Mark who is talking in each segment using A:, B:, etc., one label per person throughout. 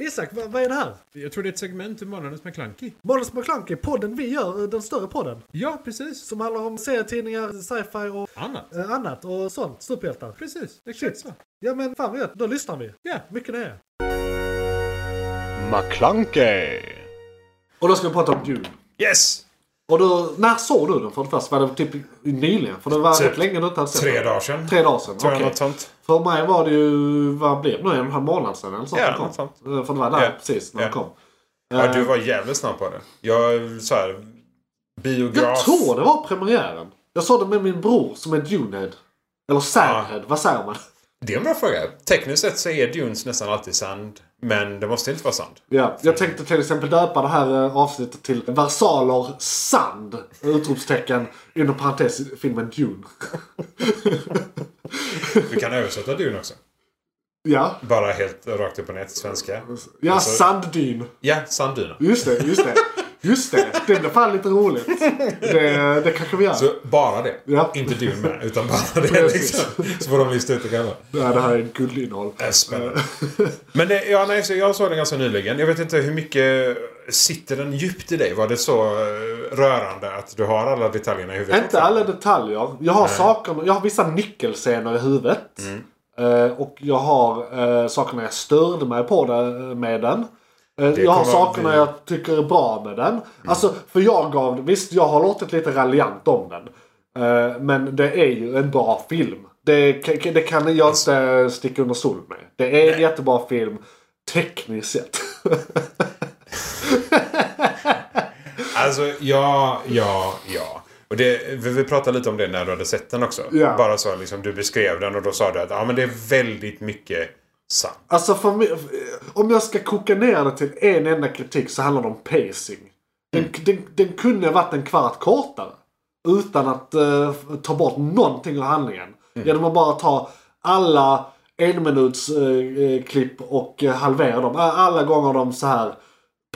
A: Isak, vad, vad är det här?
B: Jag tror det är ett segment ur Månadens McKlunky.
A: Måndags McKlunky, podden vi gör, eh, den större podden.
B: Ja, precis.
A: Som handlar om serietidningar, sci-fi och
B: Annat.
A: eh, annat och sånt. Superhjältar.
B: Precis, exakt så.
A: Ja men fan vad gött, då lyssnar vi.
B: Ja.
A: Mycket nöje.
C: McClunkey.
A: Och då ska vi prata om Dune.
D: Yes!
A: Och då, när såg du den för det första? Var det typ nyligen? För det var
D: Typ
A: rätt länge du inte hade sett
D: Tre
A: den.
D: dagar sedan.
A: Tre dagar sedan,
D: Tror jag
A: okej.
D: något sånt.
A: För mig var det ju, vad blev det nu? En och en halv månad sedan eller sånt
D: Ja,
A: den kom.
D: något sånt.
A: Eh, För det var där
D: Ja.
A: precis när
D: Ja.
A: den kom.
D: Ja,
A: Eh,
D: du var jävligt snabb på det. Jag, så här, biograf.
A: Jag tror det var premiären. Jag såg det med min bror som är Dunehead. Eller Sandhead, vad säger man?
D: Det är en bra fråga. Tekniskt sett så är dunes nästan alltid sand. Men det måste inte vara sand.
A: Ja, jag tänkte till exempel döpa det här eh, avsnittet till Versaler Sand! Utropstecken inom parentes filmen Dune.
D: Du kan översätta dun också.
A: ja,
D: Bara helt rakt upp och ner till svenska.
A: ja
D: Alltså-
A: sanddyn.
D: Ja, sanddyna.
A: Just det, just det. Just det, det blev fan lite roligt. Det, det kanske vi gör.
D: Så bara det.
A: Ja.
D: Inte dun med, utan bara det.
A: Precis.
D: Liksom. Så får de lista ut det gamla.
A: Ja, det här är ett guldinnehåll.
D: Äh, Spännande. Men det, ja, nej, så jag såg den ganska nyligen. Jag vet inte hur mycket sitter den djupt i dig? Var det så eh, rörande att du har alla detaljerna i huvudet? liksom.
A: Inte alla detaljer. Jag har, saker, jag har vissa nyckelscener i huvudet.
D: Mm.
A: Eh, och jag har eh, sakerna jag störde mig på det, med den. Eh, jag har
D: kommer Mm.
A: sakerna
D: bli-
A: jag tycker är bra med den. Alltså, för jag gav Visst, jag har låtit lite raljant om den. Eh, men det är ju en bra film. Det, kan- det kan jag inte sticka under stol med. Det är en jättebra film. Tekniskt sett.
D: Alltså, ja, ja, ja. Och det, vi, vi pratade lite om det när du hade sett den också.
A: Ja.
D: Bara så liksom, du beskrev den och då sa du att ja, men det är väldigt mycket sant.
A: Alltså för mig, om jag ska koka ner det till en enda kritik så handlar det om pacing. Den,
D: Mm.
A: den, den kunde ha varit en kvart kortare. Utan att eh, ta bort någonting av handlingen.
D: Mm.
A: Genom att bara ta alla enminutsklipp eh, klipp och eh, halvera dem. Alla gånger de så här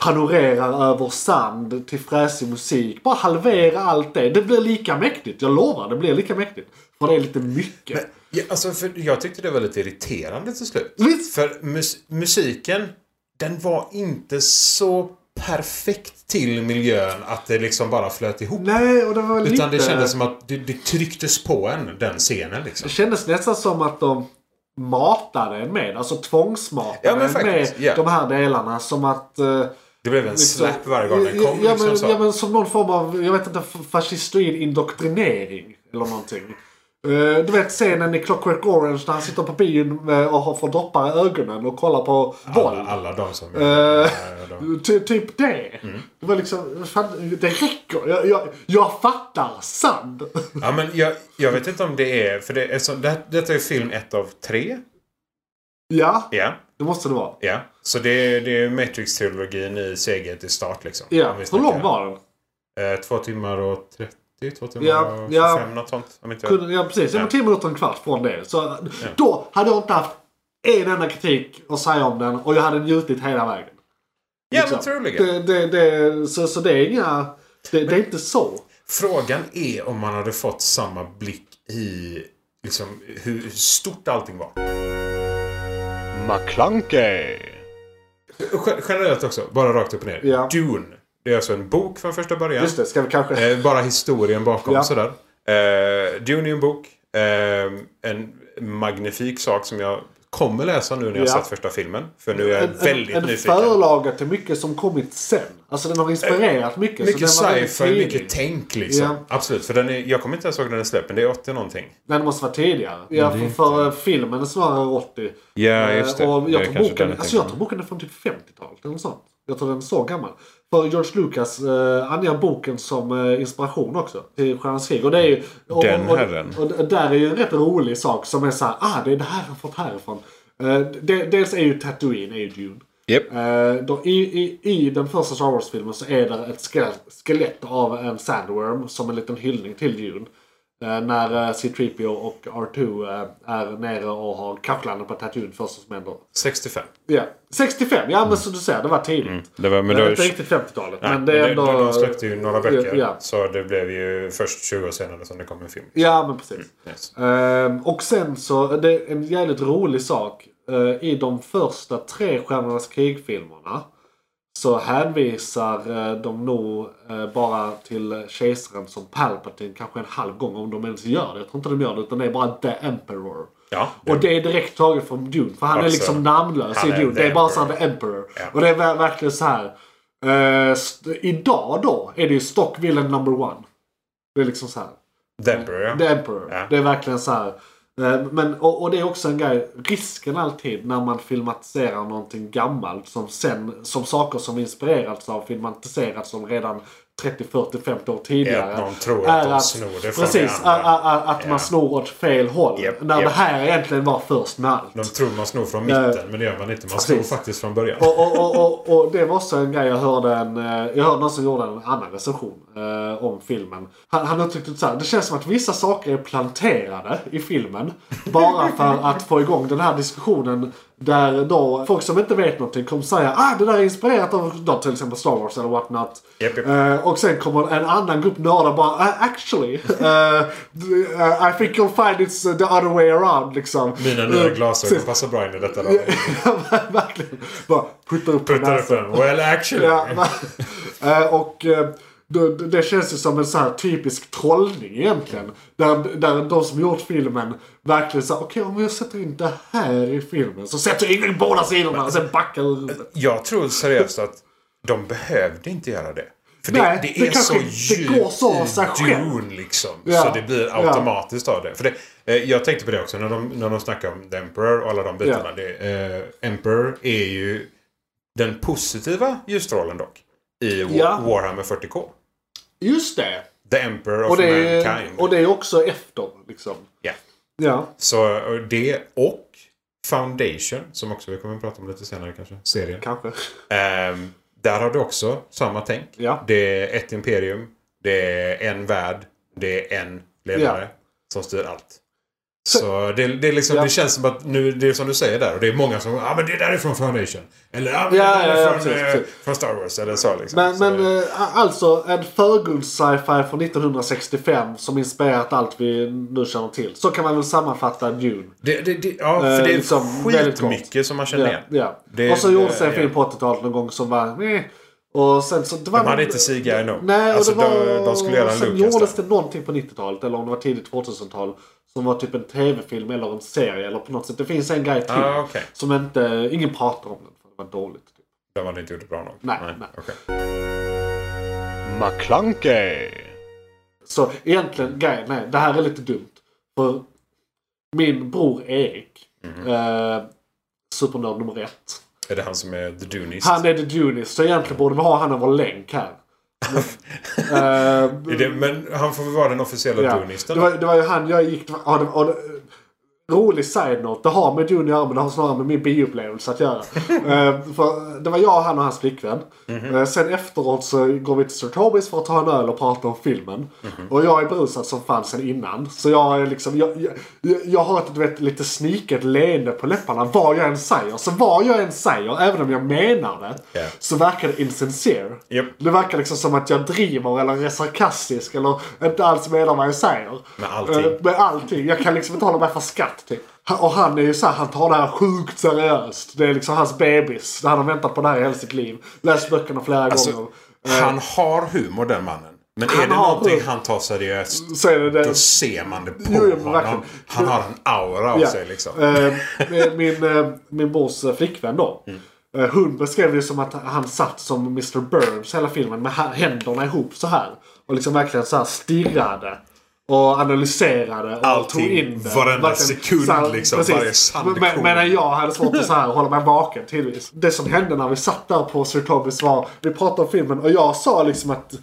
A: panorerar över sand till fräsig musik. Bara halvera allt det. Det blir lika mäktigt. Jag lovar, det blir lika mäktigt. För det är lite mycket.
D: Ja, alltså, för jag tyckte det var lite irriterande till slut.
A: Visst.
D: För mus- musiken, den var inte så perfekt till miljön att det liksom bara flöt ihop.
A: Nej, och det var lite...
D: Utan det kändes som att det, det trycktes på en, den scenen liksom.
A: Det kändes nästan som att de matade en med, alltså tvångsmatade
D: Ja, men
A: en med
D: faktiskt, ja.
A: de här delarna. Som att... eh,
D: Det blev en slap varje gång den kom.
A: ja,
D: liksom,
A: men,
D: så.
A: ja men som någon form av, jag vet inte, fascistoid indoktrinering. Eller någonting. Eh, du vet scenen i Clockwork Orange när han sitter på bion eh, och har får droppar i ögonen och kollar på våld.
D: alla, alla de som...
A: Eh,
D: Ja, Mm.
A: Ty,
D: de-
A: typ det. Det var liksom, fan, det räcker. Jag, jag, jag fattar sand.
D: Ja, men jag, jag vet inte om det är... För det, är så, det, detta är film ett av tre.
A: ja,
D: Ja.
A: det måste det vara.
D: ja. Så det, är- det är Matrix-trilogin i seget i start liksom.
A: Ja,
D: Om vi
A: hur lång
D: snackar.
A: var den?
D: Eh, två timmar och 30, två timmar
A: Ja,
D: och 25,
A: ja.
D: något sånt. Om inte jag...
A: Kunde, ja precis, ja.
D: Ja.
A: 10 minuter och en kvart från det. Så då hade jag inte haft en enda kritik att säga om den och jag hade njutit hela vägen.
D: Ja, men
A: Liksom.
D: troligen.
A: Det, det, det, så, så det är inga... Det, det är inte så.
D: Frågan är om man hade fått samma blick i liksom, hur hur stort allting var.
C: McClunkey.
D: Ge- Generellt också, bara rakt upp och ner.
A: Ja.
D: Dune. Det är alltså en bok från första början.
A: Just det, ska vi kanske...
D: Eh, bara historien bakom
A: Ja.
D: sådär. Eh, Dune är en bok. Eh, en magnifik sak som jag kommer läsa nu när jag
A: Ja.
D: sett första filmen. För nu är jag
A: en,
D: väldigt
A: en, en
D: nyfiken.
A: förlaga till mycket som kommit sen. Alltså den har inspirerat mycket. så
D: Mycket
A: den var väldigt
D: sci-fi,
A: tidig.
D: mycket tänk liksom.
A: Ja.
D: Absolut, för den är, jag kommer inte ens ihåg när den släpps, men det är 80 någonting.
A: Nej, den måste vara tidigare. Ja, för, för eh, filmen är snarare 80.
D: Ja, just det.
A: Eh, Och
D: Det är
A: jag, tror
D: kanske
A: boken,
D: den jag
A: alltså jag
D: tänker
A: tror boken är från typ 50-talet eller något sånt. Jag tror den är så gammal. För George Lucas eh, anger boken som eh, inspiration också till Stjärnans krig. Och det är ju... Och,
D: Den
A: och,
D: herren.
A: och, och där är ju en rätt rolig sak som är såhär, ah det är det här han fått härifrån. Eh, de, dels är ju Tatooine, är ju Dune.
D: Japp.
A: Eh, då, i, i, I den första Star Wars-filmen så är det ett skelett, skelett av en sandworm som en liten hyllning till Dune. Eh, när eh, C-3PO och R2 eh, är nere och har kraschlandat på Tatooine första som händer.
D: 65.
A: Ja, 65, ja men som du säger, det var tidigt.
D: Det var, Mm. men
A: det
D: då-
A: är inte riktigt 50-talet,
D: Nej,
A: men det är ändå...
D: de, de släppte ju några böcker.
A: Ja.
D: Så det blev ju först 20 år senare som det kom en film.
A: Ja, men precis.
D: Mm, Yes.
A: Ehm, och sen så, det är en jävligt rolig sak. eh, i de första tre Stjärnornas krig-filmerna så hänvisar eh, de nog eh, bara till kejsaren som Palpatine kanske en halv gång om de ens gör det. Jag tror inte de gör det utan det är bara The Emperor.
D: Ja, det-
A: Och det är direkt taget från Dune. För han är
D: Alltså,
A: liksom namnlös i
D: han är
A: Dune.
D: The
A: Det är bara så här
D: Emperor.
A: The Emperor.
D: Ja.
A: Och det är ver- verkligen så här. eh, st- idag då är det ju Stock Villain number one. Det är liksom så här.
D: Demper, ja.
A: The Emperor.
D: Ja.
A: Det är verkligen så här. eh, Men, och, och det är också en grej, risken alltid när man filmatiserar någonting gammalt som sen, som saker som inspirerats av filmatiserats som redan 30, 40, 50 år tidigare.
D: Är att någon tror att de snor det från
A: Precis,
D: det andra.
A: a- a- a- att
D: Ja.
A: man snor åt fel håll.
D: Japp,
A: när
D: japp.
A: det här egentligen var först med allt.
D: De tror man snor från mitten,
A: Eh,
D: men det gör man inte. Man
A: precis.
D: snor faktiskt från början.
A: och, och, och, och, och det var också en grej jag hörde en, eh, jag hörde någon som gjorde en annan recension eh, om filmen. Han, han uttryckte det så här, det känns som att vissa saker är planterade i filmen. Bara för att få igång den här diskussionen där då folk som inte vet någonting kommer säga ah det där är inspirerat av då, till exempel Star Wars eller what not.
D: Japp, japp.
A: Eh, och sen kommer en annan grupp nördar bara "Ah, actually eh, I think you'll find it's the other way around liksom.
D: Mina nya
A: Eh,
D: glasögon passar bra in i detta. Då.
A: Verkligen. Bara puttar upp den
D: Puttar upp
A: näsan.
D: den. Well actually.
A: alltså. Ja, va- Eh, och eh, det, det känns ju som en så här typisk trollning egentligen. Där, där de som gjort filmen verkligen sa okej om jag sätter in det här i filmen så sätter jag in i båda sidorna och sen backar jag ur det.
D: Jag tror seriöst att de behövde inte göra det. För det,
A: Nej,
D: det
A: det
D: är
A: kanske-
D: så
A: det
D: djupt
A: går så av
D: i
A: sig själv.
D: Dune liksom.
A: Ja,
D: Så det blir
A: ja.
D: automatiskt av det. För det eh, jag tänkte på det också när de, när de snackade om The Emperor och alla de bitarna.
A: Ja.
D: Det, eh, Emperor är ju den positiva ljusstrålen dock. I Wa-
A: Ja.
D: Warhammer 40K.
A: Just det!
D: The Emperor of
A: Och det, är,
D: Alltså, Mankind.
A: och det är också efter liksom.
D: Ja.
A: Ja.
D: Så och det och Foundation, som också vi kommer att prata om lite senare kanske. Serien.
A: Kanske.
D: Ehm, där har du också samma tänk.
A: Ja.
D: Det är ett imperium, det är en värld, det är en ledare som styr allt. Så, det, det, är liksom,
A: Ja.
D: det känns som att nu, det är som du säger där, och det är många som ja ah, men det där är från Foundation. Eller ah, men
A: Ja,
D: det där
A: ja,
D: är
A: ja,
D: från,
A: precis,
D: eh,
A: precis.
D: från Star Wars eller så. Liksom.
A: Men,
D: så
A: men
D: det,
A: eh, alltså en förgrunds-sci-fi från 1965 som inspirerat allt vi nu känner till. Så kan man väl sammanfatta Dune.
D: det, det, det, ja, för det är
A: eh, liksom, väldigt kort.
D: skitmycket som man känner
A: Ja,
D: igen.
A: ja.
D: Det-
A: och så gjordes
D: det-
A: en film
D: ja.
A: på 80-talet någon gång som var eh. Och sen så... Det var
D: De hade
A: någon-
D: inte CGI nog.
A: Nej, och
D: Alltså,
A: det var...
D: de- de skulle göra en
A: sen
D: Lucas där.
A: gjordes det någonting på 90-talet eller om det var tidigt 2000-tal. Som var typ en tv-film eller en serie eller på något sätt. Det finns en grej till.
D: Ah, okej.
A: Som inte... Ingen pratar om den. För det var dåligt. Typ.
D: Där var det inte gjort bra nog.
A: Nej, nej.
D: okej.
A: McClunkey. Så egentligen, grejen nej, det här är lite dumt. För min bror Erik,
D: Mhm.
A: eh, supernörd nummer ett.
D: Är det han som är the Dunist?
A: Han är the Junist, så egentligen borde vi ha han av vår länk här. Eh,
D: Är det, men han får väl vara den officiella
A: ja.
D: Dunisten?
A: det, var, det var ju han jag gick... det var- Ja, det, var- ja, det, rolig side-note, det har med Dune att göra men det har snarare med min bioupplevelse att göra. Eh, för det var jag, han och hans flickvän. Eh, sen efteråt så går vi till Sir Tobis för att ta en öl och prata om filmen. Och jag är brusad som fan sen innan. Så jag är liksom, jag, jag, jag- jag har ett du vet, lite sniket leende på läpparna vad jag än säger. Så vad jag än säger, även om jag menar det,
D: Ja.
A: så verkar det insincere.
D: Japp.
A: Det verkar liksom som att jag driver eller är sarkastisk eller inte alls menar vad jag säger.
D: Med allting.
A: Eh, med allting. Jag kan liksom inte hålla mig för skratt. Typ. Han- Och han är ju så här, han tar det här sjukt seriöst. Det är liksom hans bebis. Han har väntat på det här i hela sitt liv. Läst böckerna flera gånger.
D: Alltså, han har humor den mannen. Men är
A: Han
D: det
A: har
D: någonting
A: humor.
D: han tar seriöst
A: Så är det det.
D: då ser man det på
A: Jo, jo, men
D: honom.
A: verkligen.
D: Han har en aura av
A: Ja.
D: sig liksom.
A: Eh, min- min, eh, min brors eh, flickvän då.
D: Mm.
A: eh, Hon beskrev det som att han satt som Mr Burns hela filmen med ha- händerna ihop så här. Och liksom verkligen så här stirrade. Och analyserade och
D: Allting,
A: tog in det.
D: varenda
A: Verkligen
D: sekund,
A: så
D: liksom, varje sandkorn.
A: Men- men- Medan jag hade svårt att så här, hålla mig vaken tidvis. Det som hände när vi satt där på Sir Tobis var, vi pratade om filmen och jag sa liksom att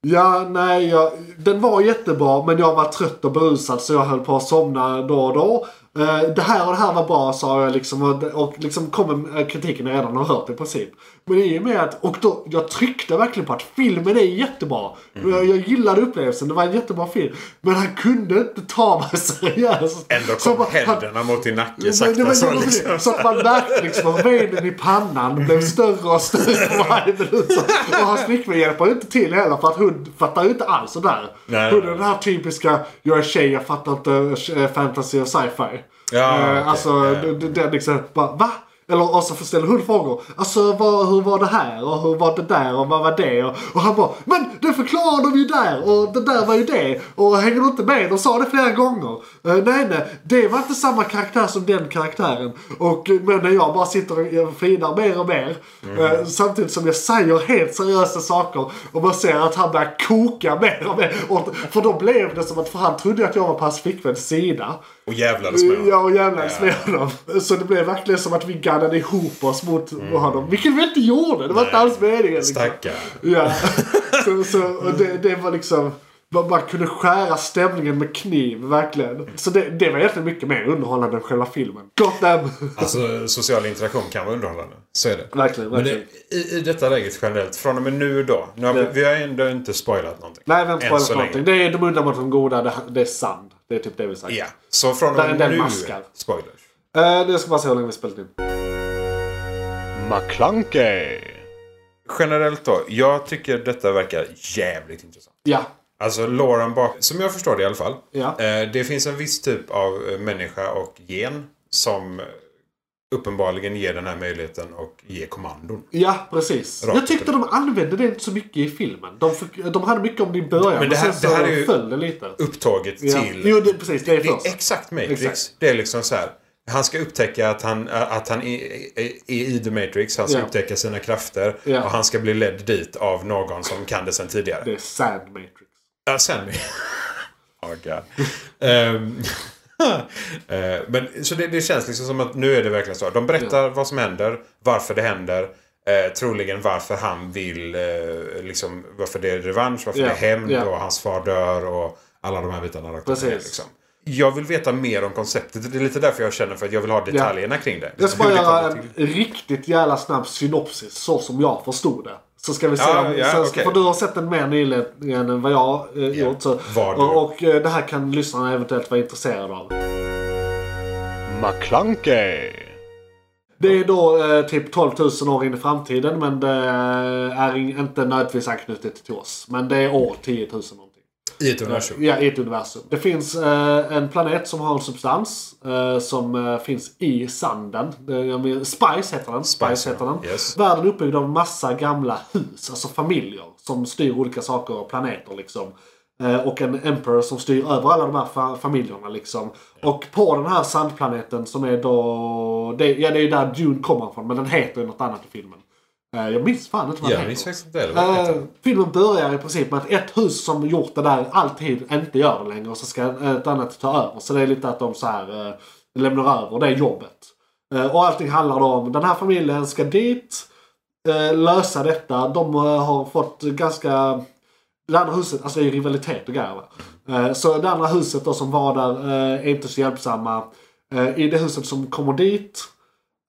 A: Ja, nej, jag, den var jättebra men jag var trött och berusad så jag höll på att somna då och då. Eh, det här och det här var bra sa jag liksom och, och liksom kom med, eh, kritiken jag redan har hört i princip. Men i och med att, och då, jag tryckte verkligen på att filmen är jättebra.
D: Mm.
A: Jag, jag gillade upplevelsen, det var en jättebra film. Men han kunde inte ta mig seriöst.
D: Ändå
A: Så
D: kom
A: bara- han-
D: händerna mot din nacke
A: men-
D: sakta
A: men-
D: så
A: men-
D: liksom.
A: Så att man märkte liksom att venen i pannan blev större och större för varje minut. Så- Och hans flickvän hjälper ju inte till heller för att hon fattar ju inte alls det där.
D: Nej,
A: hon
D: nej,
A: är
D: nej.
A: den här typiska, jag är tjej, jag fattar inte eh, fantasy och sci-fi.
D: Ja,
A: Eh,
D: okej.
A: Alltså,
D: Ja.
A: det- det- den liksom bara va? Eller och så ställer hon frågor. Alltså vad, hur var det här? Och hur var det där? Och vad var det? Och, och han bara men det förklarade de ju där! Och det där var ju det! Och hänger du inte med? De sa det flera gånger. Eh, nej nej, det var inte samma karaktär som den karaktären. Och eh, men när jag bara sitter och eh, flinar mer och mer.
D: Mm.
A: Eh, samtidigt som jag säger helt seriösa saker. Och man ser att han börjar koka mer och mer. Och, för då blev det som att för han trodde att jag var på hans flickväns sida.
D: Och jävlades med honom.
A: Ja, och jävlades med honom. Så det blev verkligen som att vi gaddade ihop oss mot honom. Vilket vi inte gjorde! Det var inte alls meningen. liksom.
D: Mm. Stackare.
A: Ja. så, så, och det, det var liksom... Man, man kunde skära stämningen med kniv, verkligen. Så det, det var egentligen mycket mer underhållande än själva filmen. Gott damn!
D: Alltså social interaktion kan vara underhållande. Så är det.
A: Verkligen,
D: Men
A: verkligen.
D: det, i, i detta läget generellt, från och med nu då. Nu har vi,
A: Ja.
D: vi har ändå inte spoilat någonting.
A: Nej, vi har inte
D: Än
A: spoilat
D: så
A: någonting.
D: länge.
A: Det är De onda mot de goda, det, det är sand. Det är typ det vi sagt.
D: Ja, så från och
A: Där är
D: med
A: den
D: nu.
A: maskar.
D: Spoilers.
A: Eh, det ska bara se hur länge vi spelat in.
C: McClunkey.
D: Generellt då. Jag tycker detta verkar jävligt intressant.
A: Ja.
D: Alltså Lauren bak som jag förstår det i alla fall.
A: Ja.
D: Eh, det finns en viss typ av eh, människa och gen som eh, uppenbarligen ger den här möjligheten och ger kommandon.
A: Ja, precis.
D: Rakt
A: jag tyckte de använde det inte så mycket i filmen. De, fick, de hade mycket om det i början,
D: Men
A: men,
D: det här-
A: sen så
D: det här är ju-
A: föll det lite.
D: Upptaget
A: Ja.
D: till...
A: Jo, det, precis. Det är
D: det är
A: först.
D: exakt Matrix.
A: Exakt.
D: Det är liksom så här. Han ska upptäcka att han, eh, att han är, är, är i The Matrix. Han ska
A: Ja.
D: upptäcka sina krafter.
A: Ja.
D: Och han ska bli ledd dit av någon som kan det sen tidigare.
A: Det är Sand Matrix.
D: Ja, sen. oh God. Ehm, eh, men, så det, det känns liksom som att nu är det verkligen så. De berättar vad som händer, varför det händer. Eh, troligen varför han vill, eh, liksom, varför det är revansch, varför
A: Ja,
D: det är hämnd
A: ja.
D: och hans far dör och alla de här bitarna. rakt upp och ner,
A: Precis.
D: Liksom. Jag vill veta mer om konceptet. Det är lite därför jag känner för att jag vill ha detaljerna kring det.
A: Jag ska bara
D: Hur det
A: göra
D: kommer
A: en
D: till.
A: riktigt jävla snabb synopsis, så som jag förstod det. Så ska vi se
D: Ja,
A: om...
D: ja,
A: sen,
D: okej.
A: För du har sett den mer nyligen än vad jag eh, gjort. Så,
D: Vad du-
A: och, och eh, det här kan lyssnarna eventuellt vara intresserade av.
C: McClunkey.
A: Det är då eh, typ 12 000 år in i framtiden men det är in- inte nödvändigtvis anknutet till oss. Men det är år 10 000 någonting.
D: I ett universum.
A: Ja, i ett universum. Det finns eh, en planet som har en substans eh, som eh, finns i sanden. Det- jag menar, Spice heter den. Spice,
D: Spice,
A: heter
D: ja.
A: den.
D: Yes.
A: Världen är uppbyggd av en massa gamla hus, alltså familjer, som styr olika saker och planeter liksom. Eh, och en emperor som styr över alla de här fa- familjerna liksom. Och på den här sandplaneten som är då... Det, ja, det är ju där Dune kommer ifrån, men den heter ju något annat i filmen. Eh, jag minns fan inte vad den
D: Jag minns
A: heter.
D: faktiskt inte det.
A: Eh,
D: Eller?
A: filmen börjar i princip med att ett hus som gjort det där alltid inte gör det längre och så ska eh, ett annat ta över. Så det är lite att de så här, eh, lämnar över det jobbet. Eh, och allting handlar då om den här familjen ska dit, eh, lösa detta. De eh, har fått ganska... Det andra huset, alltså det är ju rivalitet och grejer. va? Eh, så det andra huset då som var där eh, är inte så hjälpsamma. Eh, I det huset som kommer dit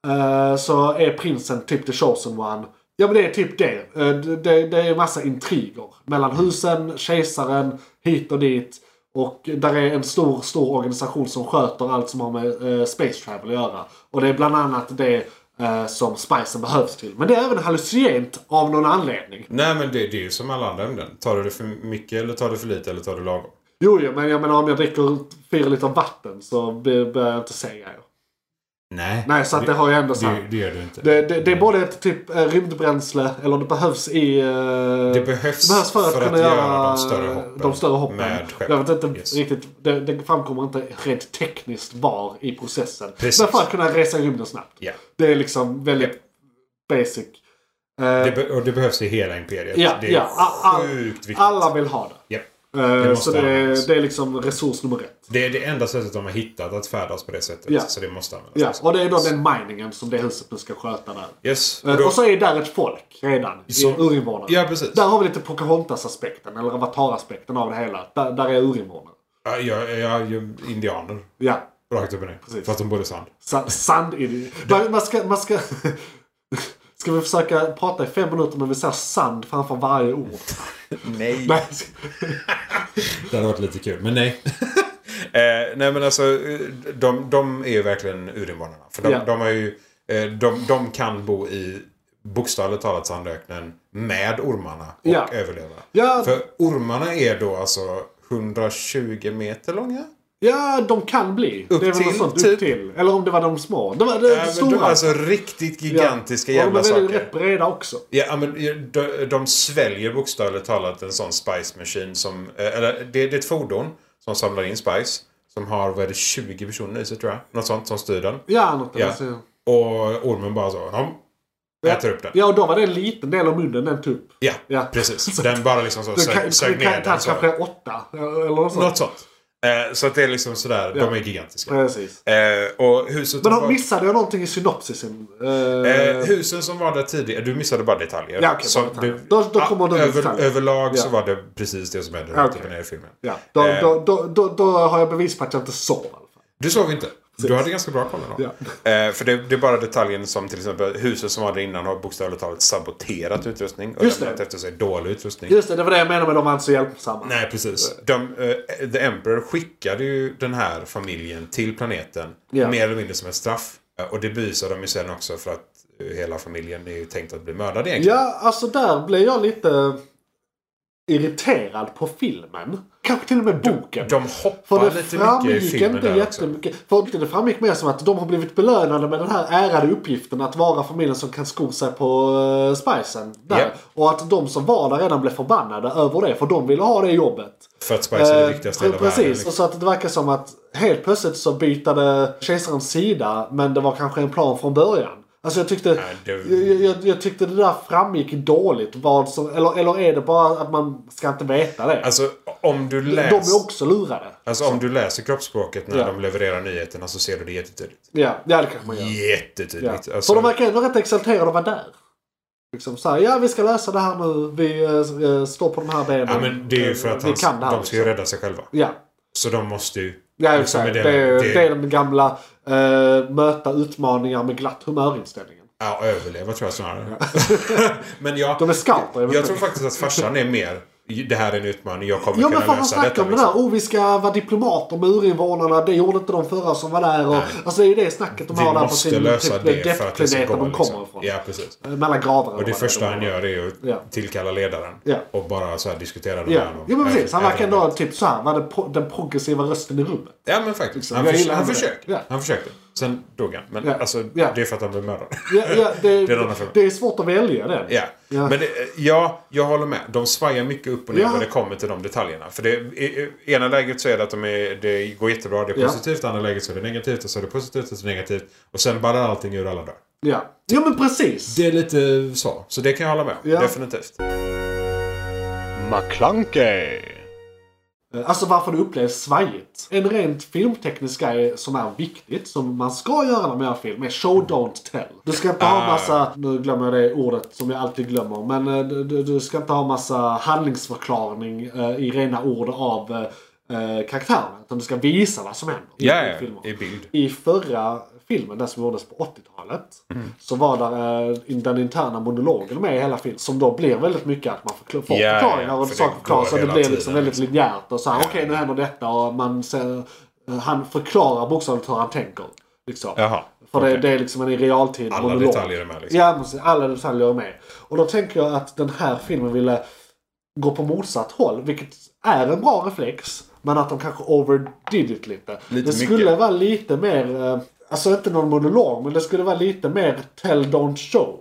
A: Eh, så är prinsen typ the chosen one. Ja men det är typ det. Eh, Det, det, det är massa intriger. Mellan husen, kejsaren, hit och dit. Och där är en stor, stor organisation som sköter allt som har med eh, space travel att göra. Och det är bland annat det eh, som spicen behövs till. Men det är även hallucinogent av någon anledning.
D: Nej men det, det är ju som alla andra ämnen. Tar du det för mycket eller tar du för lite eller tar du lagom?
A: Jo, jo men jag menar om jag dricker fyra liter vatten så blir- börjar jag inte se grejer.
D: Nej.
A: Nej, så att det har ju ändå så här-
D: Det, det gör du inte.
A: Det, det, det är både ett typ eh, rymdbränsle, eller det behövs i... eh,
D: Det behövs
A: för att, kunna
D: göra
A: göra,
D: de större hoppen
A: de större hoppen.
D: med skepp.
A: Jag vet inte
D: Yes.
A: riktigt, det, det framkommer inte rent tekniskt var i processen.
D: Precis.
A: Men för att kunna resa i rymden snabbt.
D: Ja.
A: Det är liksom väldigt basic. Eh,
D: Det be- och det behövs i hela imperiet.
A: ja,
D: det är
A: ja, a- a-
D: sjukt viktigt.
A: alla vill ha det.
D: Ja.
A: Eh,
D: måste
A: så det,
D: användas.
A: är- det är liksom resurs nummer ett.
D: Det är det enda sättet de har hittat att färdas på det sättet.
A: Ja.
D: Så det måste användas.
A: Ja, och det är då den miningen som det huset nu ska sköta där.
D: Yes.
A: Eh,
D: då-
A: och så är där ett folk redan.
D: Som-
A: i urinvånare.
D: Ja, precis.
A: Där har vi lite Pocahontas-aspekten, eller Avatar-aspekten av det hela. Där, där är urinvånare.
D: ja, ja, ja, ju- indianer.
A: Ja,
D: Rakt upp och ner.
A: Precis.
D: För att de bodde i sand.
A: sa- sand är det. Man, man ska... Man ska... Ska vi försöka prata i fem minuter men vi säger sand framför varje ord?
D: Nej.
A: Nej.
D: Det hade varit lite kul, men nej. eh, nej men alltså, eh, de, de är ju verkligen urinvånarna. För de,
A: Ja.
D: de, har ju, eh, de, de kan bo i bokstavligt talat sandöknen med ormarna och
A: Ja.
D: överleva.
A: Ja.
D: För ormarna är då alltså 120 meter långa.
A: Ja, de kan bli.
D: Upp
A: det är väl något
D: till,
A: sånt.
D: typ.
A: Upp till. Eller om det var de små. De var de
D: Ja, men
A: stora.
D: de är alltså riktigt gigantiska
A: ja.
D: jävla
A: Och de är väldigt
D: saker.
A: rätt breda också.
D: Ja, men de, de sväljer bokstavligt talat en sån spice machine som... eh, Eller det, det är ett fordon som samlar in spice. Som har, vad är det, 20 personer i sig tror jag. Något sånt som styr den.
A: Ja, något
D: Ja.
A: alltså.
D: Och ormen bara så... Hom, äter upp den.
A: Ja, och då var det en liten del av munnen den tog upp.
D: Ja,
A: Ja.
D: precis. Den bara liksom så
A: Den kan,
D: sög, sög
A: den kan
D: ner
A: ta
D: den. Så.
A: kanske åtta. Eller något sånt.
D: Något sånt. Eh, Så att det är liksom sådär.
A: Ja.
D: De är gigantiska.
A: Precis.
D: Eh, Och huset...
A: Men
D: var-
A: har- missade jag någonting i synopsisen? Eh,
D: Eh, husen som var där tidigare, du missade bara detaljer.
A: Ja, okej, bara
D: Som
A: detaljer.
D: du-
A: Då- då kommer
D: Ah,
A: de
D: över,
A: detaljer.
D: överlag så
A: Ja.
D: var det precis det som hände
A: Ja,
D: runt
A: okej.
D: i den här filmen.
A: ja, då,
D: eh.
A: då, då, då, då har jag bevis på att jag inte sov i alla fall.
D: Du såg inte. Du hade ganska bra koll ändå. Eh, för det, det är bara detaljen som till exempel huset som var där innan har bokstavligt talat saboterat utrustning. Och
A: Just det.
D: lämnat efter sig dålig utrustning.
A: Just det, det var det jag menade med de var inte så hjälpsamma.
D: Nej, precis. De, eh, The Emperor skickade ju den här familjen till planeten.
A: Ja.
D: Mer eller mindre som ett straff. Eh, Och det bevisar de ju sen också för att eh, hela familjen är ju tänkt att bli mördad egentligen.
A: Ja, alltså där blev jag lite irriterad på filmen. Kanske till och med boken.
D: De
A: För
D: hoppar
A: det
D: lite mycket i
A: framgick
D: filmen
A: inte
D: där också.
A: jättemycket. För det framgick mer som att de har blivit belönade med den här ärade uppgiften att vara familjen som kan sko sig på uh, spicen. Där.
D: Ja.
A: Och att de som var där redan blev förbannade över det för de ville ha det jobbet.
D: För att Spice är det
A: Eh,
D: viktigaste i hela
A: Precis,
D: världen.
A: och
D: liksom.
A: så att det verkar som att helt plötsligt så bytade kejsaren sida men det var kanske en plan från början. Alltså jag tyckte,
D: Nej, det-
A: jag, jag, jag tyckte det där framgick dåligt. Vad som, eller, eller är det bara att man ska inte veta det?
D: Alltså om du
A: de
D: läser...
A: är också lurade.
D: Alltså om du läser kroppsspråket när
A: Ja.
D: de levererar nyheterna så ser du det jättetydligt.
A: Ja, ja det kanske man gör. Ja.
D: Jättetydligt. Alltså,
A: Så de verkar ändå rätt exalterade att vara där. Liksom så här, ja vi ska lösa det här nu. Vi eh, står på de här benen.
D: ja, men det är ju för att
A: vi
D: han,
A: kan det här. liksom.
D: de ska ju rädda sig själva.
A: Ja,
D: Så de måste ju...
A: Ja,
D: liksom,
A: exakt.
D: med
A: det, är,
D: det-
A: det är den gamla eh, möta utmaningar med glatt humör-inställningen.
D: Ja, överleva tror jag snarare. men
A: De
D: jag,
A: är scouter. vet
D: jag
A: inte.
D: tror faktiskt att farsan är mer... Det här är en utmaning, jag kommer
A: Ja men
D: kunna
A: fan han
D: lösa detta.
A: snackar om det
D: liksom.
A: där. Oh vi ska vara diplomater med urinvånarna. Det gjorde inte de förra som var där. Och, alltså det är ju det snacket de
D: Vi
A: har där på
D: måste
A: sin
D: lösa
A: typ,
D: det för att det ska
A: depplaneten
D: gå.
A: de kommer
D: liksom.
A: ifrån.
D: Ja, precis.
A: Eh, Mellan gravarna.
D: Och det första han gör är att
A: Ja.
D: tillkalla ledaren.
A: Ja.
D: Och bara så här diskutera
A: Ja,
D: med honom.
A: ja men precis. Han verkar
D: Även-
A: ändå typ så här, vara den, pro- den progressiva rösten i rummet.
D: Ja men faktiskt.
A: Liksom,
D: Han,
A: Jag
D: förs-
A: gillar
D: han
A: det.
D: försökte.
A: Ja.
D: Han försökte. Sen dog han. Men
A: Ja.
D: alltså
A: Ja.
D: det är för att han blev mördad.
A: Ja, ja, det,
D: Det är en annan fråga.
A: det är svårt att välja den.
D: Ja.
A: Ja.
D: Men det, ja, jag håller med. De svajar mycket upp och ner
A: Ja.
D: när det kommer till de detaljerna. För det, i, i ena läget så är det att de är, det går jättebra, det är
A: Ja.
D: positivt. I andra läget så är det negativt och så är det positivt och så är det negativt. Och sen ballar allting ur alla dagar.
A: Ja. ja men precis.
D: Det är lite så. Så det kan jag hålla med om.
A: Ja.
D: Definitivt.
A: McClunkey. Alltså varför det upplevs svajigt. En rent filmteknisk grej som är viktigt, som man ska göra när man gör film, är show don't tell. Du ska inte ha
D: Ah.
A: massa, nu glömmer jag det ordet som jag alltid glömmer, men eh, du, du- du ska inte ha massa handlingsförklaring eh, i rena ord av eh, eh, karaktärerna. Utan du ska visa vad som händer. i-
D: Ja,
A: i
D: ja,
A: filmer.
D: i bild.
A: I förra filmen, den som gjordes på 80-talet, så var där eh, den interna monologen med i hela filmen. Som då blir väldigt mycket att man förkl- får
D: Ja,
A: förklaringar
D: ja,
A: och
D: för det
A: saker förklaras.
D: går
A: Så det
D: hela
A: blir liksom
D: tiden,
A: väldigt linjärt och så här, okej nu händer detta och man ser, eh, han förklarar bokstavligt hur han tänker. Liksom.
D: Jaha.
A: För det,
D: okej.
A: det är liksom en i realtid
D: Alla
A: monolog.
D: detaljer är med liksom.
A: Ja, precis. alla detaljer är med. Och då tänker jag att den här filmen ville gå på motsatt håll, vilket är en bra reflex. Men att de kanske overdid it lite.
D: Lite
A: det skulle
D: mycket.
A: vara lite mer, eh, alltså inte någon monolog, men det skulle vara lite mer tell don't show.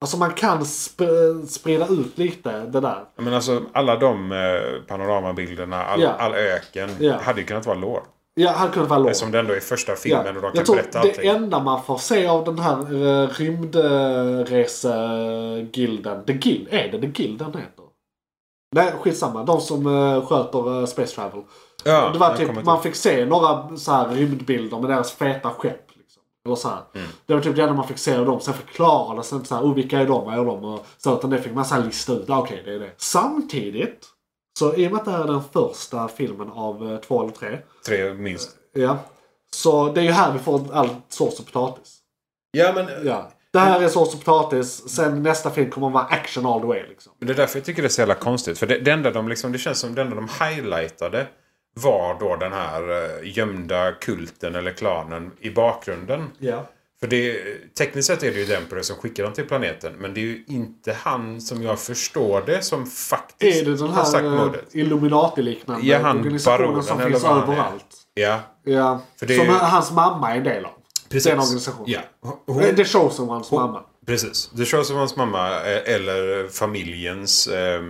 A: Alltså man kan sp- sprida ut lite det där.
D: Ja, Men alltså alla de eh, panoramabilderna, all,
A: Ja.
D: all öken,
A: Ja.
D: hade ju kunnat vara lår.
A: Ja, hade kunnat vara lång.
D: Som det ändå är första
A: Ja.
D: filmen och de kan
A: Jag tror
D: berätta
A: det
D: allting.
A: enda man får se av den här uh, rymdresegilden, The Guild, är det The Guild den heter? Nej, skitsamma. De som eh, sköter eh, Space Travel.
D: Ja,
A: det var
D: jag
A: typ,
D: kommer inte
A: man fick se några så här rymdbilder med deras feta skepp. Liksom. Eller så här.
D: Mm.
A: Det var typ det enda man fick se av dem. Sen förklarades inte så här, oh, vilka är de, vad gör de? Och så, utan det fick man så här lista ut. Ah, Okej, det är det. Samtidigt, så i och med att det här är den första filmen av eh, två eller tre.
D: Tre minst.
A: Ja. Så det är ju här vi får all sås och potatis.
D: Ja, men
A: Ja. Det här är sås och potatis, sen nästa film kommer vara action all the way. Liksom.
D: det är därför jag tycker det är så jävla konstigt. För det, det enda de liksom, det känns som det enda de highlightade var då den här eh, gömda kulten eller klanen i bakgrunden.
A: Ja.
D: För det, tekniskt sett är det ju Demperer som skickar dem till planeten. Men det är ju inte han som jag förstår det som faktiskt
A: Är det den
D: har sagt
A: här eh,
D: modet.
A: Illuminati-liknande
D: Ja, han
A: organisationen
D: baronen
A: som
D: eller
A: finns
D: vad han är.
A: överallt?
D: Ja,
A: Ja.
D: För det är
A: som
D: ju-
A: hans mamma är en del av.
D: precis.
A: Den organisationen.
D: Ja. Hon,
A: Eh, Det show som hans mamma.
D: Precis. The Shows of hans mamma eh, eller familjens eh,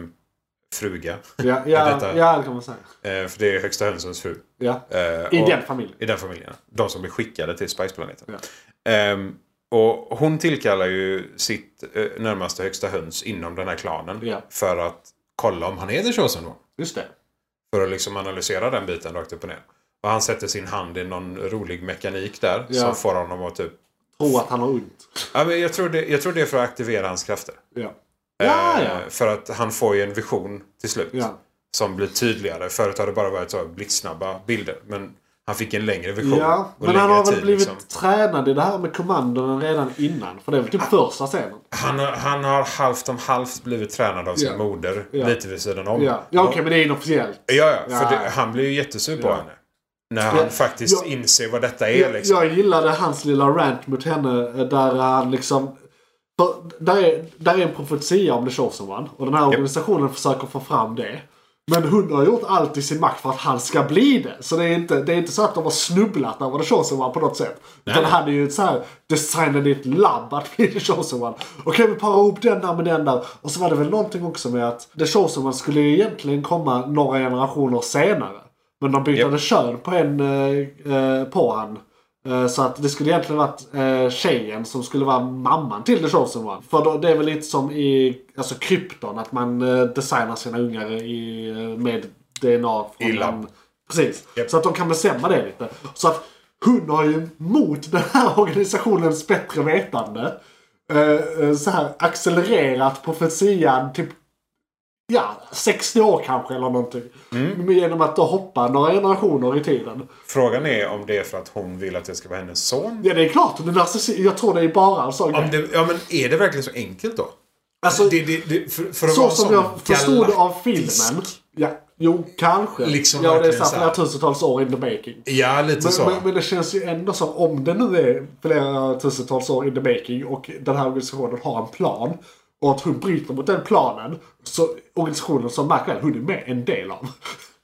D: fruga.
A: Ja, ja,
D: Detta.
A: ja det kan man säga.
D: Eh, för det är högsta hönsens fru.
A: Ja.
D: Eh,
A: I
D: och-
A: den familjen.
D: I den familjen. De som blir skickade till Spiceplaneten. Ehm, och hon tillkallar ju sitt eh, närmaste högsta höns inom den här klanen.
A: Ja.
D: För att kolla om han är The Chosen One.
A: Just det.
D: För att liksom analysera den biten rakt upp och ner. Och han sätter sin hand i någon rolig mekanik där.
A: Ja.
D: Som får honom att typ...
A: Tror att han har ont.
D: Ja, men jag, tror det, jag tror det är för att aktivera hans krafter.
A: Ja. Ja,
D: Eh,
A: ja.
D: För att han får ju en vision till slut.
A: Ja.
D: Som blir tydligare. Förut har det bara varit så här blixtsnabba bilder. Men han fick en längre vision.
A: Ja,
D: och
A: men han
D: längre
A: har väl
D: tid,
A: blivit
D: liksom. Ah.
A: tränad i det här med kommandon redan innan. För det är väl typ första scenen.
D: Han, har- han har halvt om halvt blivit tränad av sin
A: Ja.
D: moder.
A: Ja.
D: Lite vid sidan om.
A: Ja, ja okej men det är inofficiellt.
D: Ja, ja, för
A: Ja.
D: Det, han blir ju jättesur på
A: Ja.
D: henne. När han
A: Ja.
D: faktiskt
A: Ja.
D: inser vad detta är.
A: Jag,
D: Liksom.
A: jag gillade hans lilla rant mot henne eh, där han liksom... För där, är, där är en profetia om The Chosen One och den här organisationen försöker få fram det. Men hon har gjort allt i sin makt för att han ska bli det. Så det är inte, det är inte så att de har snubblat över The Chosen One på något sätt. Utan han är ju så här designade i ett labb att bli The Chosen One. Okej vi parar ihop den där med den där. Och så var det väl någonting också med att The Chosen One skulle ju egentligen komma några generationer senare. Men de bytte kön på en, eh, eh, på han. Eh, Så att det skulle egentligen varit eh, tjejen som skulle vara mamman till The Chosen One. För då, det är väl lite som i alltså krypton, att man eh, designar sina ungar i, eh, med DNA från
D: I labb.
A: en- Precis.
D: Japp.
A: Så att de kan bestämma det lite. Så att hon har ju mot den här organisationens bättre vetande eh, eh, så här accelererat profetian typ ja, 60 år kanske eller någonting.
D: Mm.
A: Men Genom att då hoppa några generationer i tiden.
D: Frågan är om det är för att hon vill att det ska vara hennes son.
A: Ja, det är klart. Den narcissi- jag tror det är bara en sån
D: Om
A: grej.
D: det, ja, men är det verkligen så enkelt då?
A: Alltså,
D: det, det, det, för, för att
A: Så
D: vara
A: som
D: sån
A: jag förstod av
D: galaktisk-
A: filmen. Ja, jo, kanske.
D: Liksom
A: ja, det är
D: verkligen
A: så här
D: så här.
A: flera tusentals år in the making.
D: Ja, lite så.
A: Men, men, men det känns ju ändå som om det nu är flera tusentals år in the making och den här organisationen har en plan och att hon bryter mot den planen så organisationen som märker att hon är med en del av.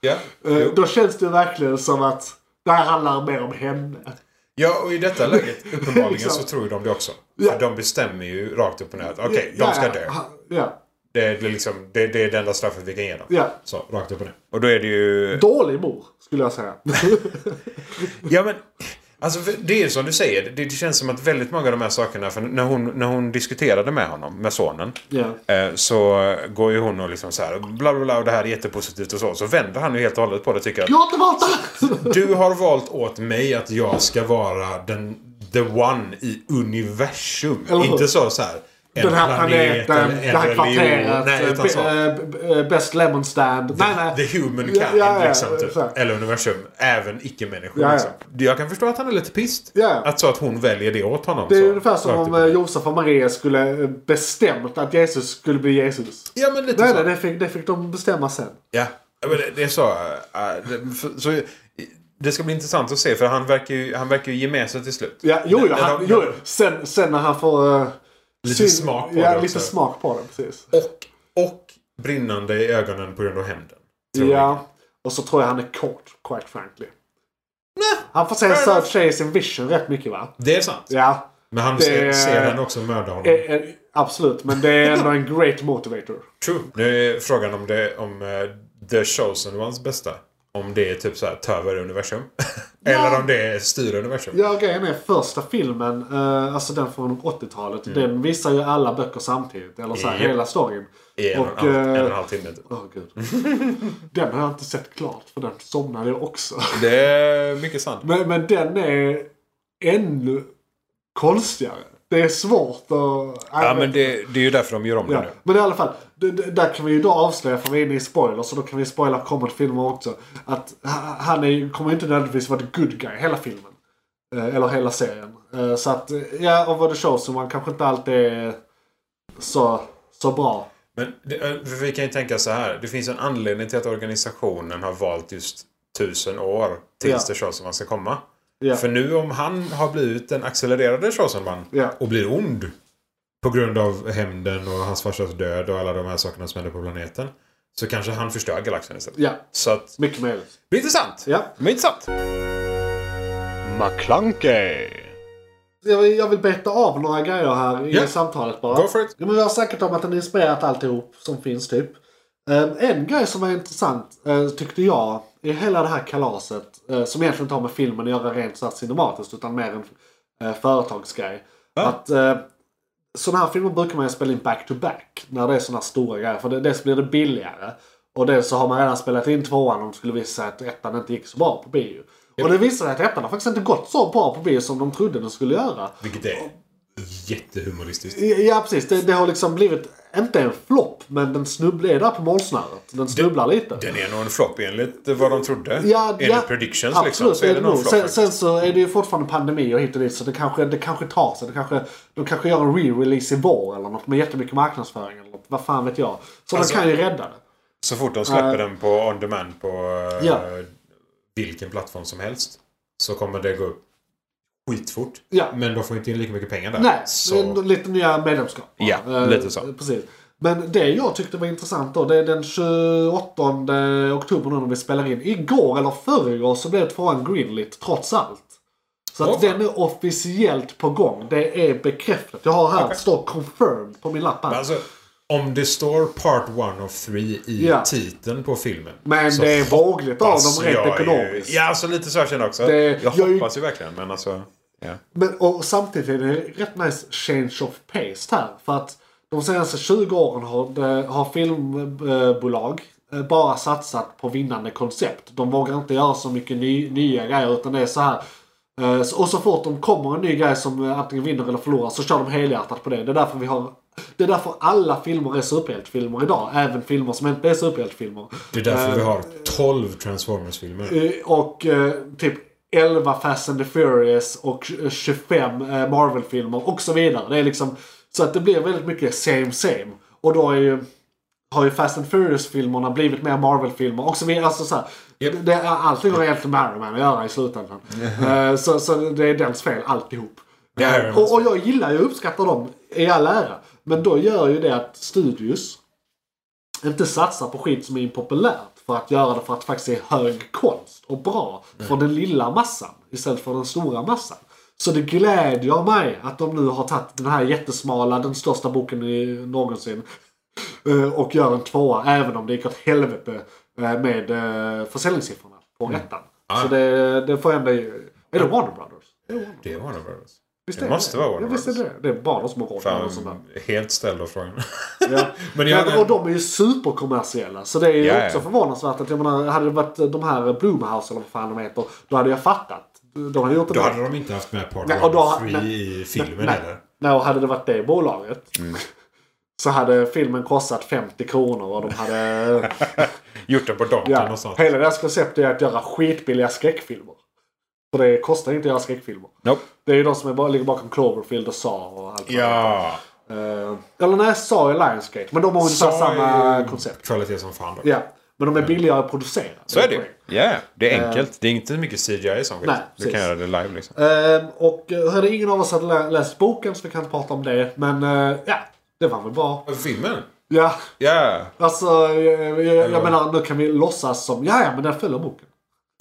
D: ja.
A: Eh,
D: jo.
A: Då känns det verkligen som att det här handlar mer om henne.
D: ja, och i detta läget uppenbarligen
A: Liksom.
D: så tror ju de det också.
A: Ja.
D: För de bestämmer ju rakt upp och ner att okej, de ska
A: Ja,
D: dö.
A: ha- Ja.
D: Det, det, är liksom, det, det är det enda straffet vi kan ge dem.
A: Ja.
D: Så, rakt upp och ner. Och då är det ju...
A: Dålig mor, skulle jag säga.
D: Ja, men... Alltså, för det är som du säger. Det, det känns som att väldigt många av de här sakerna, för när hon, när hon diskuterade med honom, med sonen,
A: ja.
D: Eh, så går ju hon och liksom så här, bla bla bla, och det här är jättepositivt och så. Så vänder han ju helt och hållet på det och tycker att
A: Jag har inte varit där!
D: du har valt åt mig att jag ska vara den, the one i universum.
A: Eller hur?
D: Inte så så här. En
A: Den här planeten,
D: en
A: det här kvarteret,
D: Nej, utan så.
A: eh, b- eh, Best Lemon Stand. Nej, nej.
D: The human kind,
A: Ja, ja, ja,
D: liksom, typ.
A: exakt.
D: eller universum. Även icke-människor.
A: Ja, ja.
D: Liksom. Jag kan förstå att han är lite pissed.
A: Ja, ja.
D: Att så att hon väljer det åt honom.
A: Det är
D: så. typ.
A: ungefär som
D: Rakt
A: om
D: upp.
A: eh, Josef och Maria skulle eh, bestämt att Jesus skulle bli Jesus.
D: Ja, men lite
A: Nej, nej,
D: så.
A: det fick, det fick de bestämma sen.
D: Ja, men det, det är så. äh, det, för, så. Det ska bli intressant att se för han verkar ju, han verkar ju ge med sig till slut.
A: Ja, jo,
D: Men-
A: jo,
D: men
A: han,
D: de-
A: jo, jo. Sen, sen när han får... eh,
D: Lite smak på
A: ja,
D: det
A: lite
D: också.
A: smak på det, precis.
D: Och, och brinnande i ögonen på grund av hämnden. tror jag.
A: Ja, och så tror jag han är kort, quite frankly. Han får se en
D: fair
A: söt
D: enough.
A: tjej i sin vision rätt mycket va?
D: Det är sant.
A: Ja,
D: Men han
A: Det-
D: ser, ser henne också mörda honom.
A: eh, eh, absolut. Men det är ändå en great motivator.
D: True. Nu är frågan om det om eh, The Chosen Ones bästa. Om det är typ så här ta över universum. Eller om det är styra universum.
A: Ja, grejen är första filmen, eh, alltså den från 80-talet, den visar ju alla böcker samtidigt. Eller så här,
D: Mm. Japp.
A: hela storyn.
D: I en och,
A: Och,
D: en, halv- en och en
A: eh,
D: halv timme. typ.
A: Åh gud. den har jag inte sett klart för den somnade jag också.
D: Det är mycket sant.
A: Men, men den är ännu konstigare. Det är svårt att...
D: Ja men det, det är ju därför de gör om det
A: Ja,
D: nu.
A: men i alla fall, d- d- där kan vi ju då avslöja, för vi är inne i spoilers, så då kan vi spoila kommande filmer också. Att ha- han är, ju- kommer ju inte nödvändigtvis vara the good guy hela filmen. Eh, Eller hela serien. Eh, Så att, eh, ja, och vad det shows som man kanske inte alltid är så, så bra.
D: Men det, eh, för vi kan ju tänka så här. Det finns en anledning till att organisationen har valt just tusen år tills
A: Ja.
D: det Charleston man ska komma.
A: Ja.
D: För nu om han har blivit den accelererade Charleston
A: Ja.
D: och blir ond på grund av hämnden och hans farsas död och alla de här sakerna som händer på planeten. Så kanske han förstör galaxen istället.
A: Ja,
D: Så att, det
A: mycket möjligt.
D: blir intressant.
A: Ja.
D: Det blir intressant. McClunkey.
A: Jag, jag vill beta av några grejer här i
D: Ja.
A: samtalet bara.
D: Go for it.
A: Ja, men vi har snackat om att den inspirerat alltihop som finns typ. Eh, En grej som var intressant eh, tyckte jag i hela det här kalaset, eh, som egentligen inte har med filmen att göra rent så här cinematiskt utan mer en eh, företagsgrej. Att eh, sådana här filmer brukar man ju spela in back to back när det är sådana här stora grejer. För det, dels blir det billigare och dels så har man redan spelat in tvåan om det skulle visa sig att ettan inte gick så bra på bio. Och det visade sig att ettan har faktiskt inte gått så bra på bio som de trodde den skulle göra.
D: Vilket är jättehumoristiskt.
A: Ja precis, det, det har liksom blivit, inte en flopp, men den snubblar är där på målsnöret. Den snubblar lite.
D: Den är nog en flopp enligt vad de trodde.
A: Ja,
D: enligt
A: ja,
D: predictions
A: absolut,
D: liksom. Så är det nog en flopp.
A: sen,
D: faktiskt.
A: sen så är det ju fortfarande pandemi och hit och dit så det kanske, det kanske tar sig. Det kanske, de kanske gör en re-release i vår eller något med jättemycket marknadsföring eller något. Vad fan vet jag. Så
D: Alltså-
A: de kan ju rädda det.
D: Så fort de släpper den på on demand på eh,
A: Ja.
D: vilken plattform som helst så kommer det gå upp skitfort.
A: Ja.
D: Men de får inte in lika mycket pengar där.
A: Nej,
D: så...
A: eh, lite nya medlemskap.
D: Ja,
A: Eh,
D: lite så.
A: Precis. Men det jag tyckte var intressant då, det är den 28 oktober nu när vi spelar in. Igår eller förrgår så blev tvåan greenlit trots allt. Så att
D: Åh, fan.
A: den är officiellt på gång. Det är bekräftat. Jag har här,
D: Okej.
A: står confirmed på min lapp här.
D: Alltså, om det står Part 1 of 3 i
A: Ja.
D: titeln på filmen.
A: Men
D: så
A: det är vågligt av
D: hoppas
A: dem rent
D: jag ju-
A: ekonomiskt.
D: Ja, alltså lite så jag känner också.
A: Det-
D: jag
A: jag är ju-
D: hoppas ju verkligen, men alltså... Ja.
A: Men och samtidigt är det rätt nice change of pace här. För att de senaste 20 åren har, det- har filmbolag eh, bara satsat på vinnande koncept. De vågar inte göra så mycket ny, nya grejer utan det är så här. eh, så- Och så fort de kommer en ny grej som eh, antingen vinner eller förlorar så kör de helhjärtat på det. Det är därför vi har det är därför alla filmer är superhjältefilmer idag. Även filmer som inte är superhjältefilmer.
D: Det är därför vi har 12 Transformers-filmer.
A: Eh, Och eh, typ 11 Fast and the Furious och tj- 25 eh, Marvel-filmer och så vidare. Det är liksom, så att det blir väldigt mycket same same. Och då är ju, har ju Fast and Furious-filmerna blivit mer Marvel-filmer och så vidare. Alltså så här,
D: Japp.
A: det, är- allting har egentligen med Iron Man att göra i slutändan. Eh, så, så det är dens fel alltihop.
D: Det är Iron Mans
A: och, och jag gillar ju och uppskattar dem i all ära. Men då gör ju det att studios inte satsar på skit som är impopulärt för att göra det för att det faktiskt är hög konst och bra från den lilla massan istället för den stora massan. Så det glädjer mig att de nu har tagit den här jättesmala, den största boken i, någonsin eh, och gör en tvåa även om det gick åt helvete eh, med eh, försäljningssiffrorna på ettan.
D: Mm. Ja.
A: Så det, det får jag ändå... Är det Warner Brothers? Är det Warner?
D: Det var alltså. Warner Brothers.
A: Visst
D: Det
A: är
D: måste vara
A: Ja,
D: Warner
A: visst är det det. Det är bara de som har Warner
D: Fan,
A: Brothers. och sådär.
D: helt ställd av frågan.
A: Ja.
D: Men jag-
A: Men, och de är ju superkommersiella. Så det är ju
D: Ja, ja.
A: också förvånansvärt att jag menar, hade det varit de här Blumhouse eller vad fan de heter. Då hade jag fattat. De hade gjort det
D: Då
A: där.
D: hade de inte haft med Part
A: Nej,
D: 1
A: och då-
D: of 3
A: nej,
D: i filmen
A: nej,
D: heller.
A: nej, och hade det varit det bolaget.
D: Mm.
A: Så hade filmen kostat 50 kronor och de hade...
D: Gjort den på Donken
A: Ja,
D: någonstans.
A: hela deras koncept är att göra skitbilliga skräckfilmer. För det kostar inte att göra skräckfilmer.
D: Nope.
A: Det är ju de som är bara, ligger bakom Cloverfield och Saw och allt vad
D: Ja.
A: det heter. Eh, Eller nej, Saw är Lionsgate. Men de har ungefär
D: Sa
A: samma
D: ju
A: koncept.
D: Kvalitet som fan dock.
A: Ja, men de är billigare producerade.
D: Så är det
A: poäng.
D: Ja, det är enkelt. Det är inte mycket CGI som skit.
A: Eh. Nej,
D: Du kan
A: precis.
D: göra det live liksom.
A: Ehm, och eh, hörde ingen av oss hade lä- läst boken så vi kan inte prata om det. Men eh, ja, det var väl bra.
D: Filmen?
A: Ja,
D: Ja.
A: alltså jag, jag, jag menar nu kan vi låtsas som, ja ja men den följer boken.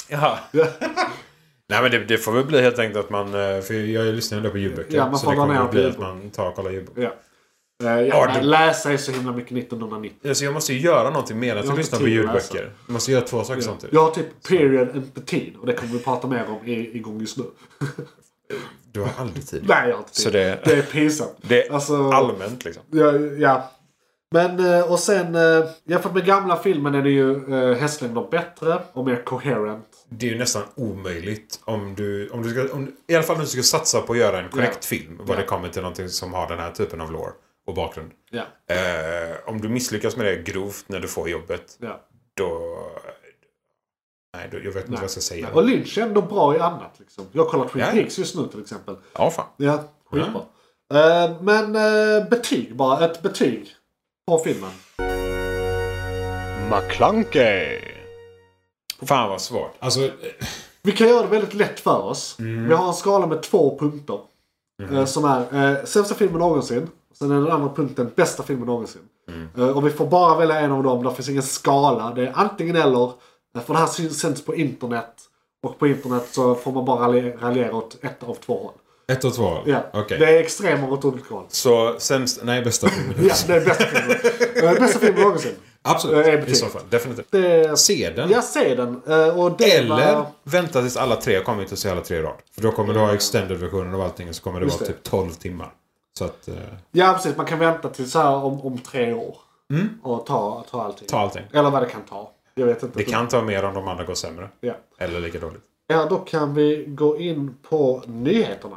D: Jaha. Nej men det, det får väl bli helt enkelt att man... eh, För jag lyssnar ändå på ljudböcker.
A: Ja, man
D: så
A: får
D: det
A: vara
D: kommer
A: med
D: väl bli
A: på
D: att man tar och kollar ljudböcker.
A: Ja. Eh, ja,
D: Ja,
A: men
D: du-
A: Läsa är så himla mycket 1990.
D: Alltså, jag måste ju göra någonting mer än
A: har
D: att
A: inte
D: lyssna på
A: tid alltså. att
D: ljudböcker. Jag måste göra två saker samtidigt.
A: Jag har typ period inte tid och det kommer vi prata mer om i, igång just nu.
D: Du har aldrig tid.
A: Nej, jag har inte tid.
D: Så det-
A: det är pinsamt.
D: Det är
A: Alltså-
D: allmänt liksom.
A: Ja, ja. Men eh, och sen eh, jämfört med gamla filmen är det ju eh, hästlängder bättre och mer coherent.
D: Det är ju nästan omöjligt om du, om du ska, om, i alla fall om du ska satsa på att göra en korrekt film vad det kommer till någonting som har den här typen av lore och bakgrund.
A: Ja.
D: Eh, om du misslyckas med det grovt när du får jobbet,
A: ja.
D: då... Nej, då, jag vet inte vad jag ska säga.
A: Och Lynch är ändå bra i annat. Liksom. Jag kollar Twin
D: Ja.
A: Peaks just nu till exempel.
D: Ja, fan.
A: Ja, skitbra. Eh, men eh, betyg bara. Ett betyg på filmen.
D: McClunkey. Fan vad svårt. Alltså, eh,
A: Vi kan göra det väldigt lätt
D: Mm.
A: för oss. Vi har en skala med två punkter. eh, som är eh, sämsta filmen någonsin. Sen är den andra punkten bästa filmen någonsin.
D: Mm.
A: Eh, och vi får bara välja en av dem. Där finns ingen skala. Det är antingen eller. Eh, För det här syns- sänds på internet. Och på internet så får man bara ralje- raljera åt ett av två håll.
D: Ett och två?
A: Ja.
D: Okej.
A: Det är extremer åt olika håll.
D: Så sämst... Nej, bästa filmen.
A: Ja, det är bästa filmen. Eh, bästa filmen någonsin. Eh,
D: Absolut. I
A: betyg.
D: så fall. Definitivt.
A: Det är...
D: Se den.
A: Jag ser den. Eh, Och det
D: Eller
A: Var...
D: vänta tills alla tre har kommit och se alla tre i rad. För då kommer du ha extended-versionen av allting och så kommer det
A: Mm. Just
D: vara
A: det.
D: typ 12 timmar. Så att... Eh,
A: Ja precis, man kan vänta till så här om, om tre år. Och ta, ta allting.
D: Mm. ta allting.
A: Eller vad det kan ta. Jag vet inte.
D: Det kan ta mer om de andra går sämre.
A: Ja.
D: Eller lika dåligt.
A: ja, då kan vi gå in på nyheterna.